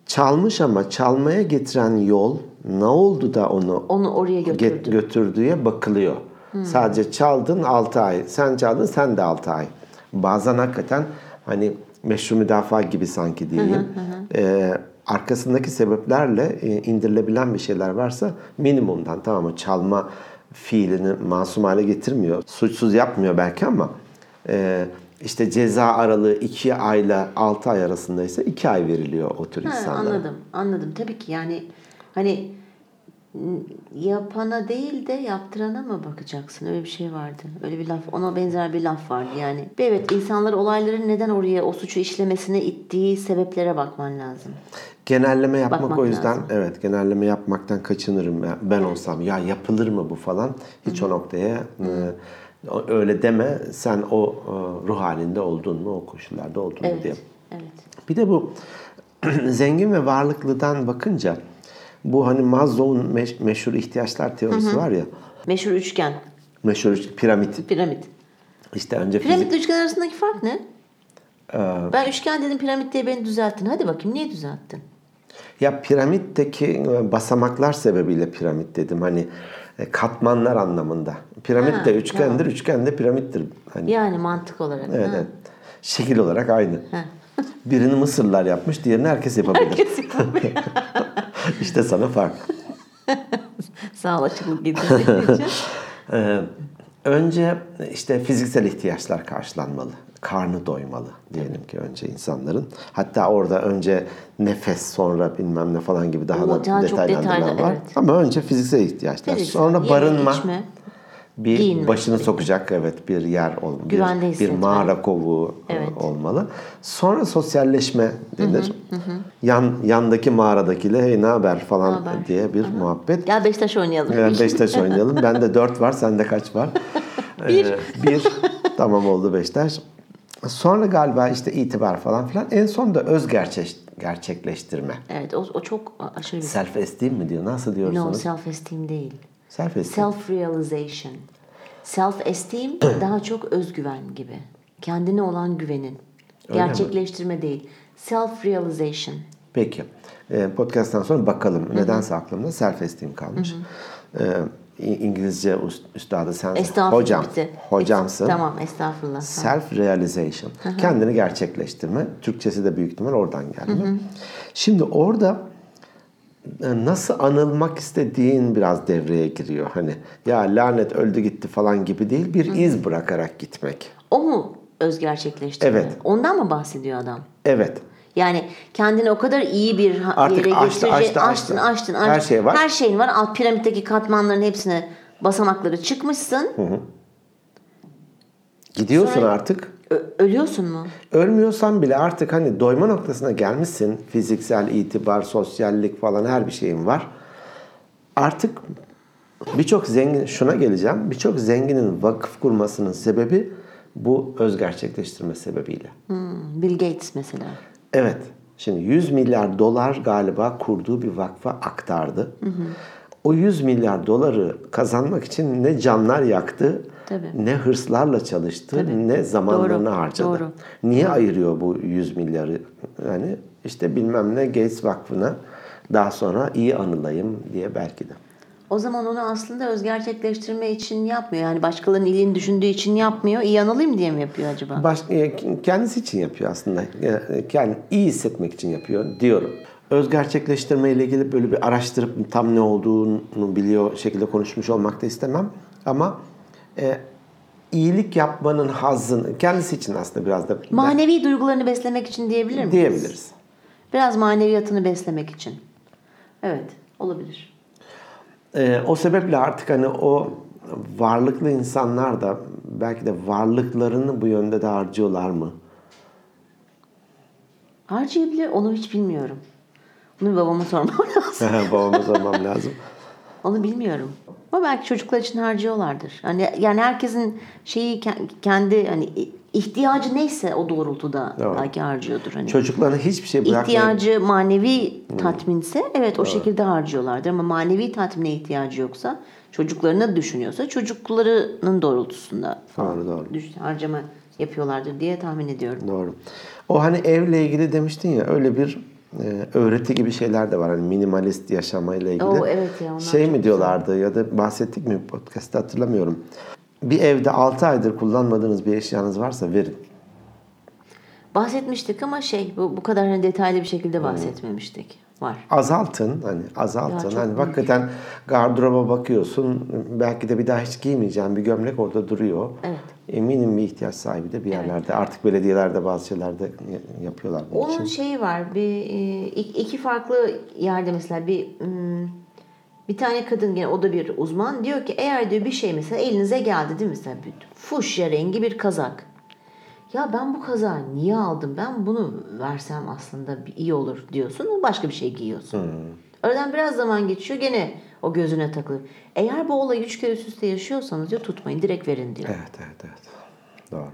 Çalmış ama çalmaya getiren yol ne oldu da onu
Onu oraya
Get-
götürdü. Hmm.
götürdüğe bakılıyor. Sadece çaldın 6 ay. Sen çaldın sen de 6 ay. Bazen hakikaten hani meşru müdafaa gibi sanki diyeyim. Ee, arkasındaki sebeplerle e, indirilebilen bir şeyler varsa minimumdan tamam mı? Çalma fiilini masum hale getirmiyor. Suçsuz yapmıyor belki ama e, işte ceza aralığı 2 ayla 6 ay arasındaysa 2 ay veriliyor o tür
Ha,
insanlara.
anladım, anladım. Tabii ki yani hani n- yapana değil de yaptırana mı bakacaksın? Öyle bir şey vardı. Öyle bir laf, ona benzer bir laf vardı yani. Evet, insanlar olayların neden oraya o suçu işlemesine ittiği sebeplere bakman lazım.
Genelleme yapmak
Bakmak
o yüzden
lazım.
evet genelleme yapmaktan kaçınırım ben, ben olsam ya yapılır mı bu falan hiç o noktaya e, o- öyle deme sen o e, ruh halinde oldun mu o koşullarda oldun mu diye
Evet.
Bir de bu zengin ve varlıklıdan bakınca bu hani Maslow'un meş- meşhur ihtiyaçlar teorisi var ya.
Meşhur üçgen,
Meşhur piramit.
piramit.
İşte önce fizik. Ee,
Piramitle üçgen arasındaki fark ne? ben üçgen dedim piramit diye beni düzelttin. Hadi bakayım niye düzelttin?
Ya piramitteki e, basamaklar sebebiyle piramit dedim. Hani e, katmanlar anlamında. Piramit
Ha,
de üçgendir, üçgen de piramittir. Hani
Yani mantık olarak.
evet,
ha.
evet. Şekil olarak aynı.
Ha.
Birini Mısırlılar yapmış, diğerini herkes yapabilir.
Kesinlikle.
işte sana fark.
Sağ ol açıklık getirdiğin için.
Ee, önce işte fiziksel ihtiyaçlar karşılanmalı. Karnı doymalı diyelim ki önce insanların. Hatta orada önce nefes sonra bilmem ne falan gibi daha
Oo,
da
can çok
detaylandırmalar
detaylı,
var.
evet.
Ama önce fiziksel ihtiyaçlar.
Fiziksel,
sonra
yeme,
barınma.
içme.
Bir
Giyinme.
başını sokacak evet bir yer olmalı.
Güvende
Bir, bir
hissetme.
mağara kovuğu e,
Evet.
olmalı. Sonra sosyalleşme denir. Yan yandaki mağaradakiyle hey ne haber falan
Naber?
diye bir muhabbet.
Gel Beşiktaş oynayalım.
Evet, Beşiktaş oynayalım. Bende 4 var, sende kaç var?
Bir.
Ee, bir. Tamam oldu Beşiktaş. Sonra galiba işte itibar falan filan. En son da öz gerçek, gerçekleştirme.
Evet o, o çok aşırı bir...
Self esteem mi diyor? Nasıl
No
diyorsunuz?
self esteem değil.
self esteem.
Self realization. Self esteem daha çok özgüven gibi. Kendine olan güvenin.
Öyle mi?
Gerçekleştirme değil. Self realization.
Peki. Ee, podcast'tan sonra bakalım. Nedense aklımda self esteem kalmış. Ee, İ- İngilizce üst- üstadı sensin.
Estağfurullah.
Hocam.
bitti.
Hocamsın.
Tamam estağfurullah.
Self realization. Kendini gerçekleştirme. Türkçesi de büyük ihtimal oradan geldi. Şimdi orada e, nasıl anılmak istediğin biraz devreye giriyor. Hani ya lanet öldü gitti falan gibi değil. Bir iz bırakarak gitmek.
O mu öz gerçekleştirme?
Evet.
Ondan mı bahsediyor adam?
Evet.
Yani kendini o kadar iyi bir ha-
Artık
yere
açtı,
getirecek.
açtı,
açtın,
açtı.
açtın, açtın.
Her şey var.
Her şeyin var. Alt piramitteki katmanların hepsine basamakları çıkmışsın.
Gidiyorsun
Sonra-
artık.
Ö- ölüyorsun mu?
Ölmüyorsan bile artık hani doyma noktasına gelmişsin. Fiziksel itibar, sosyallik falan her bir şeyin var. Artık birçok zengin, şuna geleceğim. Birçok zenginin vakıf kurmasının sebebi bu öz gerçekleştirme sebebiyle.
Hmm, Bill Gates mesela.
Evet. Şimdi 100 milyar dolar galiba kurduğu bir vakfa aktardı. O 100 milyar doları kazanmak için ne canlar yaktı,
Tabii.
ne hırslarla çalıştı, ne zamanlarını
Doğru,
harcadı.
doğru.
Niye ayırıyor bu 100 milyarı? Yani işte bilmem ne Gates Vakfı'na daha sonra iyi anılayım diye belki de.
O zaman onu aslında öz gerçekleştirme için yapmıyor. Yani başkalarının iyiliğini düşündüğü için yapmıyor. İyi analıyım diye mi yapıyor acaba?
Baş, e, k- kendisi için yapıyor aslında. E, Yani iyi hissetmek için yapıyor diyorum. Öz gerçekleştirme ile ilgili böyle bir araştırıp tam ne olduğunu biliyor şekilde konuşmuş olmak da istemem. Ama e, iyilik yapmanın hazzını kendisi için aslında biraz da
Manevi duygularını beslemek için diyebilir miyiz?
diyebiliriz.
Biraz maneviyatını beslemek için. Evet, olabilir.
E, o sebeple artık hani o varlıklı insanlar da belki de varlıklarını bu yönde de harcıyorlar mı?
Harcayabilir, onu hiç bilmiyorum. Bunu babama sormam lazım.
Babama sormam lazım.
Onu bilmiyorum. Ama belki çocuklar için harcıyorlardır. Hani yani herkesin şeyi ke- kendi hani ihtiyacı neyse o doğrultuda
Doğru.
belki harcıyordur hani.
Çocuklarına hiçbir şey bırakmayıp
ihtiyacı manevi
Hmm.
tatminse evet o şekilde harcıyorlardır ama manevi tatmine ihtiyacı yoksa çocuklarını düşünüyorsa çocuklarının doğrultusunda falan
Doğru, doğru.
düş- harcama yapıyorlardır diye tahmin ediyorum.
Doğru. O hani evle ilgili demiştin ya öyle bir e, öğreti gibi şeyler de var. Hani minimalist yaşamayla ilgili.
Oo, evet ya, onlar
şey
çok
mi diyorlardı ya da bahsettik mi podcast'ta hatırlamıyorum. Bir evde 6 aydır kullanmadığınız bir eşyanız varsa verin.
Bahsetmiştik ama şey bu, bu kadar hani detaylı bir
Hmm.
şekilde bahsetmemiştik. Var.
Azaltın hani azaltın.
çok
hani
mümkün.
hakikaten gardıroba bakıyorsun belki de bir daha hiç giymeyeceğin bir gömlek orada duruyor.
Evet.
Eminim bir ihtiyaç sahibi de bir yerlerde. Artık belediyelerde bazı şeylerde e, yapıyorlar bunun için.
Onun şeyi var. Bir e, ik- iki farklı yerde mesela bir hmm, bir tane kadın gene o da bir uzman diyor ki eğer diyor bir şey mesela elinize geldi değil mi mesela bir fuşya rengi bir kazak. Ya ben bu kazağı niye aldım? Ben bunu versem aslında bir- iyi olur diyorsun. Başka bir şey giyiyorsun. Aradan biraz zaman geçiyor gene o gözüne takılıyor. Eğer bu olayı üç kere üst üste yaşıyorsanız diyor tutmayın direkt verin diyor.
Evet evet evet. Doğru.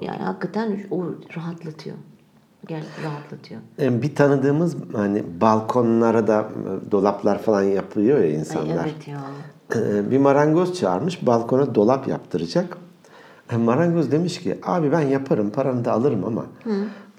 Yani hakikaten o rahatlatıyor. Gel rahatlatıyor.
Yani bir tanıdığımız hani balkonlara da e, dolaplar falan yapıyor ya
Ay,
insanlar.
evet ya.
Ee, bir marangoz çağırmış balkona dolap yaptıracak. E, Marangoz demiş ki abi ben yaparım paranı da alırım ama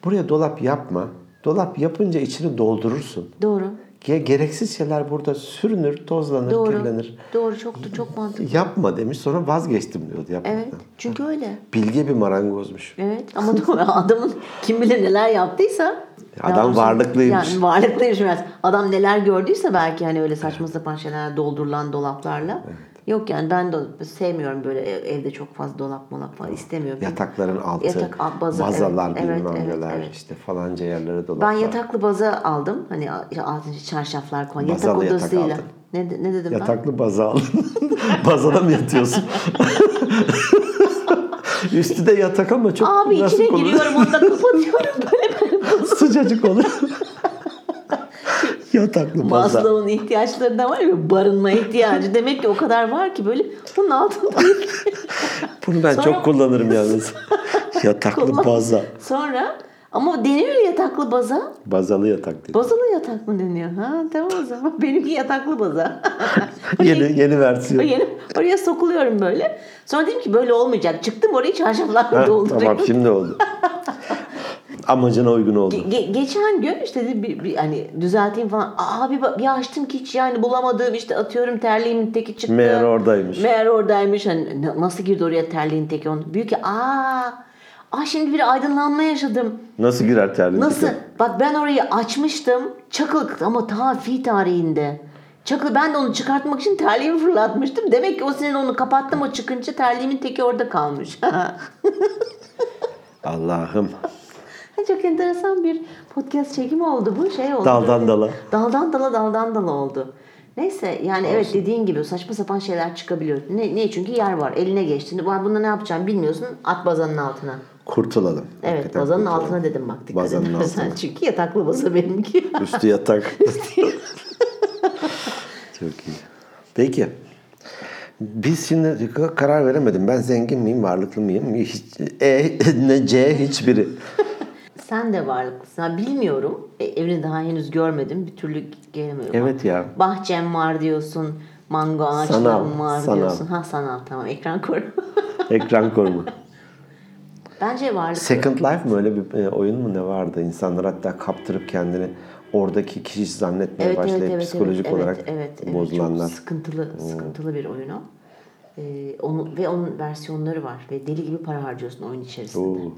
buraya dolap yapma. Dolap yapınca içini doldurursun.
Doğru.
Ge- Gereksiz şeyler burada sürünür, tozlanır,
Doğru.
kirlenir.
Doğru çok çok mantıklı.
Yapma demiş sonra vazgeçtim diyordu yapmaktan.
Evet. Çünkü öyle.
Bilge bir marangozmuş.
Evet ama doğru. adamın kim bilir neler yaptıysa
Adam
Daha doğrusu-
varlıklıymış.
Yani varlıklıymış biraz. Adam neler gördüyse belki hani öyle saçma sapan şeyler doldurulan dolaplarla. Yok yani ben de sevmiyorum böyle ev- evde çok fazla dolap molap falan istemiyorum.
Yatakların altı,
Yatak alt- bazı-
bazalar
evet, evet,
bilmem
evet,
neler,
evet.
işte falanca yerlere dolaplar.
Ben yataklı baza aldım. Hani a- altın çarşaflar koyun. Yatak
Bazalı yatak
odasıyla.
aldın.
ne, de- ne dedim ben?
Yataklı baza aldın. Bazada mı yatıyorsun? Üstü de yatak ama çok
Abi
nasıl
içine
olur?
giriyorum onda kapatıyorum böyle.
Sıcacık olur. Yataklı baza.
Maslow'un ihtiyaçları da var ya barınma ihtiyacı. Demek ki o kadar var ki böyle bunun altında.
Bunu ben
Sonra-
çok kullanırım yalnız. Yataklı
Kullan.
baza.
Sonra ama deniyor ya yataklı baza.
Bazalı yatak dedi.
Bazalı yatak mı deniyor? Ha tamam o zaman. Benimki yataklı baza.
Yeni, yeni
O
versiyon.
yeni- oraya sokuluyorum böyle. Sonra dedim ki böyle olmayacak. Çıktım orayı çarşaflarla
Ha, tamam
dolduruyorum.
şimdi oldu. Amacına uygun oldu.
Ge- geçen gün işte dedi bir, bir hani düzelteyim falan. Aa bir, bak- bir açtım ki hiç yani bulamadığım işte atıyorum terliğimin teki çıktı.
Meğer oradaymış.
Meğer oradaymış. Hani na- nasıl girdi oraya terliğin teki onu. Büyük ki aa. Aa şimdi bir aydınlanma yaşadım.
Nasıl girer terlik?
Nasıl? Bak ben orayı açmıştım. Çakıl ama ta fi tarihinde. Çakıl ben de onu çıkartmak için terliğimi fırlatmıştım. Demek ki o sene onu kapattım o çıkınca terliğimin teki orada kalmış.
Allah'ım.
Çok enteresan bir podcast çekimi oldu bu şey oldu.
Daldan dala.
Daldan dala daldan dala oldu. Neyse yani evet dediğin gibi saçma sapan şeyler çıkabiliyor. Ne, niye? Çünkü yer var. Eline geçti. Ulan Bunda ne yapacağını bilmiyorsun. At bazanın altına.
Kurtulalım.
Evet
Hakikaten
bazanın
kurtulalım.
altına dedim bak dikkat
Bazanın
edersen.
altına.
Çünkü yataklı baza benimki.
Üstü yatak. Çok iyi. Peki. Biz şimdi karar veremedim. Ben zengin miyim, varlıklı mıyım? Hiç, e, ne C hiçbiri.
Sen de varlıklısın. Ha, bilmiyorum. E, evini daha henüz görmedim. Bir türlü gelemiyorum.
Evet ya.
Bahçem var diyorsun. Mango ağaçlarım
Sanal,
var
sanal.
diyorsun. Ha sanal tamam ekran koru.
Ekran korumu.
Bence varlıklı.
Second Life mı öyle bir e, oyun mu ne vardı? İnsanlar hatta kaptırıp kendini oradaki kişi zannetmeye başlayıp psikolojik
evet,
olarak Hmm.
evet, evet.
bozulanlar.
Çok sıkıntılı, sıkıntılı bir oyun o. Ee, onu, ve onun versiyonları var. Ve deli gibi para harcıyorsun oyun içerisinde.
Oo.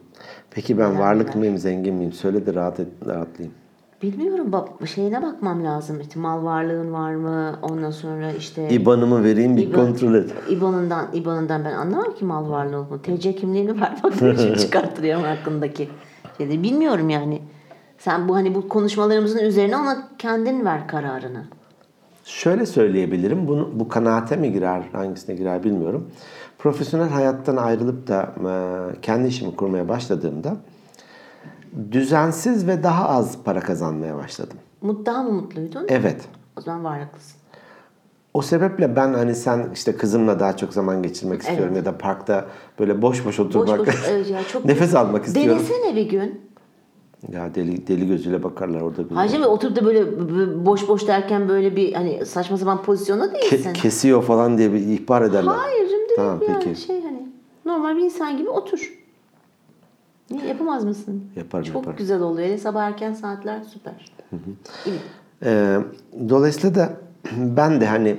Peki ben varlık mıyım, zengin miyim? Söyle de rahat et, rahatlayayım.
Bilmiyorum bak şeyine bakmam lazım. İşte mal varlığın var mı? Ondan sonra işte
İBAN'ımı vereyim bir
İBAN.
kontrol et.
İBAN'ından İBAN'ından ben anlamam ki mal varlığı olduğunu. TC kimliğini ver bak şimdi çıkarttırıyorum hakkındaki şeyleri. Bilmiyorum yani. Sen bu hani bu konuşmalarımızın üzerine ona kendin ver kararını.
Şöyle söyleyebilirim. Bunu, bu kanaate mi girer, hangisine girer bilmiyorum. Profesyonel hayattan ayrılıp da e, kendi işimi kurmaya başladığımda düzensiz ve daha az para kazanmaya başladım.
Mut, daha mı mutluydun?
Evet.
O zaman varlıklısın.
O sebeple ben hani sen işte kızımla daha çok zaman geçirmek istiyorum ya da parkta böyle boş boş
Boş
oturmak,
boş, evet ya, çok
nefes almak istiyorum.
Denesene bir gün.
Ya deli deli gözüyle bakarlar orada. bir-
Hacı Bey oturup da böyle b- b- boş boş derken böyle bir hani saçma sapan pozisyonda
Ke-
değilsin.
kesiyor falan diye bir ihbar ederler.
Hayır şimdi
Tamam,
yani
peki.
şey hani normal bir insan gibi otur. Niye yapamaz mısın?
Yaparım,
Çok
yaparım.
güzel oluyor. Hele sabah erken saatler süper. İyi.
Ee, dolayısıyla da ben de hani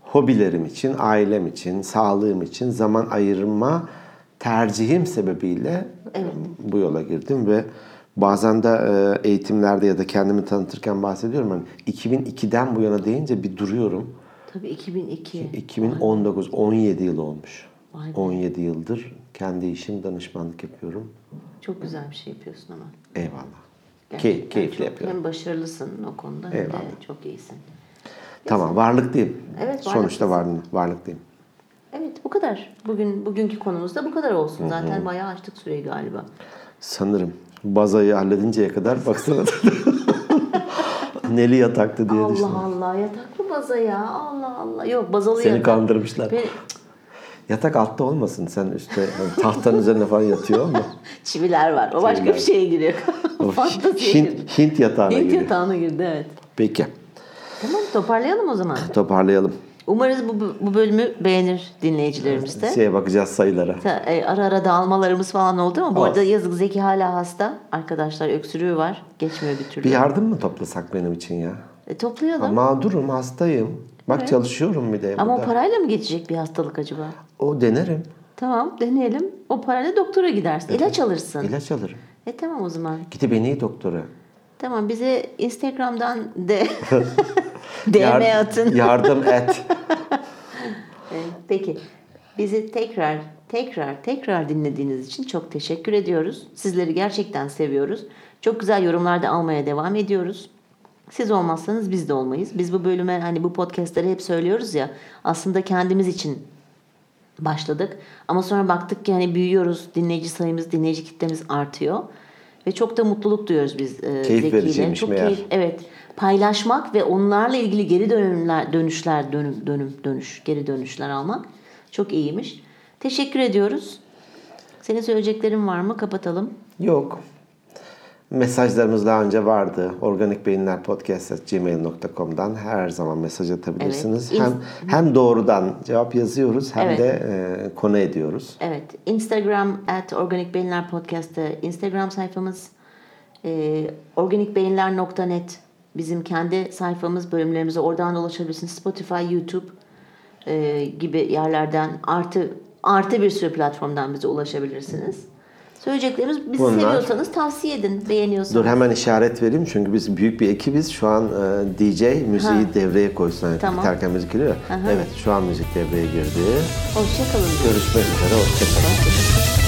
hobilerim için, ailem için, sağlığım için zaman ayırma tercihim sebebiyle bu yola girdim ve bazen de e, eğitimlerde ya da kendimi tanıtırken bahsediyorum hani 2002'den bu yana deyince bir duruyorum.
Tabii 2002.
2019 17 yıl olmuş.
Vay be.
17 yıldır kendi işim danışmanlık yapıyorum.
Çok güzel bir şey yapıyorsun ama.
Eyvallah.
Gerçekten
Key, keyifli
çok-
yapıyorum.
Hem başarılısın o konuda hem de
Eyvallah.
çok iyisin.
Tamam, varlıklıyım.
Evet,
Sonuçta varlı- varlıklıyım.
Evet bu kadar. Bugün bugünkü konumuz da bu kadar olsun. Zaten bayağı açtık süreyi galiba.
Sanırım. Bazayı halledinceye kadar baksana. Neli yataktı diye
Allah
düşündüm.
Allah yataklı baza ya. Allah Allah. Yok bazalı
Seni
yatak.
kandırmışlar.
Beni-
Yatak altta olmasın sen üstte yani tahtanın üzerine falan yatıyor ama.
Çiviler var. O başka
Çiviler.
bir şeye giriyor.
O
Fantaziye girdi.
Hint, Hint yatağına
Hint
giriyor.
yatağına girdi evet.
Peki
Tamam toparlayalım o zaman.
toparlayalım.
Umarız bu, bu bölümü beğenir dinleyicilerimiz de.
Şeye bakacağız sayılara.
Ta- e, Ara ara dağılmalarımız falan oldu ama bu
Olsun.
arada yazık Zeki hala hasta. Arkadaşlar öksürüğü var. Geçmiyor bir türlü.
Bir yardım mı toplasak benim için ya?
E, toplayalım. Ama,
Mağdurum, hastayım. Bak çalışıyorum bir de
o
burada.
parayla mı geçecek bir hastalık acaba?
O denerim.
Tamam deneyelim. O parayla doktora gidersin. ilaç alırsın.
İlaç alırım.
E tamam o zaman.
Gidip en iyi doktora.
Tamam bize Instagram'dan de DM
Yar-
atın.
Yardım et.
E, Peki. Bizi tekrar tekrar tekrar dinlediğiniz için çok teşekkür ediyoruz. Sizleri gerçekten seviyoruz. Çok güzel yorumlar da almaya devam ediyoruz. Siz olmazsanız biz de olmayız. Biz bu bölüme hani bu podcastleri hep söylüyoruz ya aslında kendimiz için başladık. Ama sonra baktık ki hani büyüyoruz. Dinleyici sayımız, dinleyici kitlemiz artıyor. Ve çok da mutluluk duyuyoruz biz e,
Keyif
Zeki'yle.
vericiymiş
Çok
meğer.
keyif- evet. Paylaşmak ve onlarla ilgili geri dönümler, dönüşler, dönüm, dönüm, dönüş, geri dönüşler almak çok iyiymiş. Teşekkür ediyoruz. Senin söyleyeceklerin var mı? Kapatalım.
Yok. Mesajlarımız daha önce vardı. Organik Beyinler gmail.com'dan her zaman mesaj atabilirsiniz.
Evet.
Hem hem doğrudan cevap yazıyoruz hem
Evet.
de e, konu ediyoruz.
Evet. Instagram at Organik Beyinler Podcast'ı. Instagram sayfamız e, organikbeyinler.net bizim kendi sayfamız bölümlerimize oradan da ulaşabilirsiniz. Spotify, YouTube e, gibi yerlerden artı artı bir sürü platformdan bize ulaşabilirsiniz. Söyleyeceklerimiz bizi
Bunlar-
seviyorsanız tavsiye edin, beğeniyorsanız.
Dur hemen işaret vereyim çünkü biz büyük bir ekibiz. Şu an e, DJ müziği
Ha.
devreye koysun. Yani
Tamam.
Biterken müzik geliyor. ya. Evet şu an müzik devreye girdi.
Hoşçakalın.
Görüşmek üzere. Hoşçakalın.
Hoşçakalın.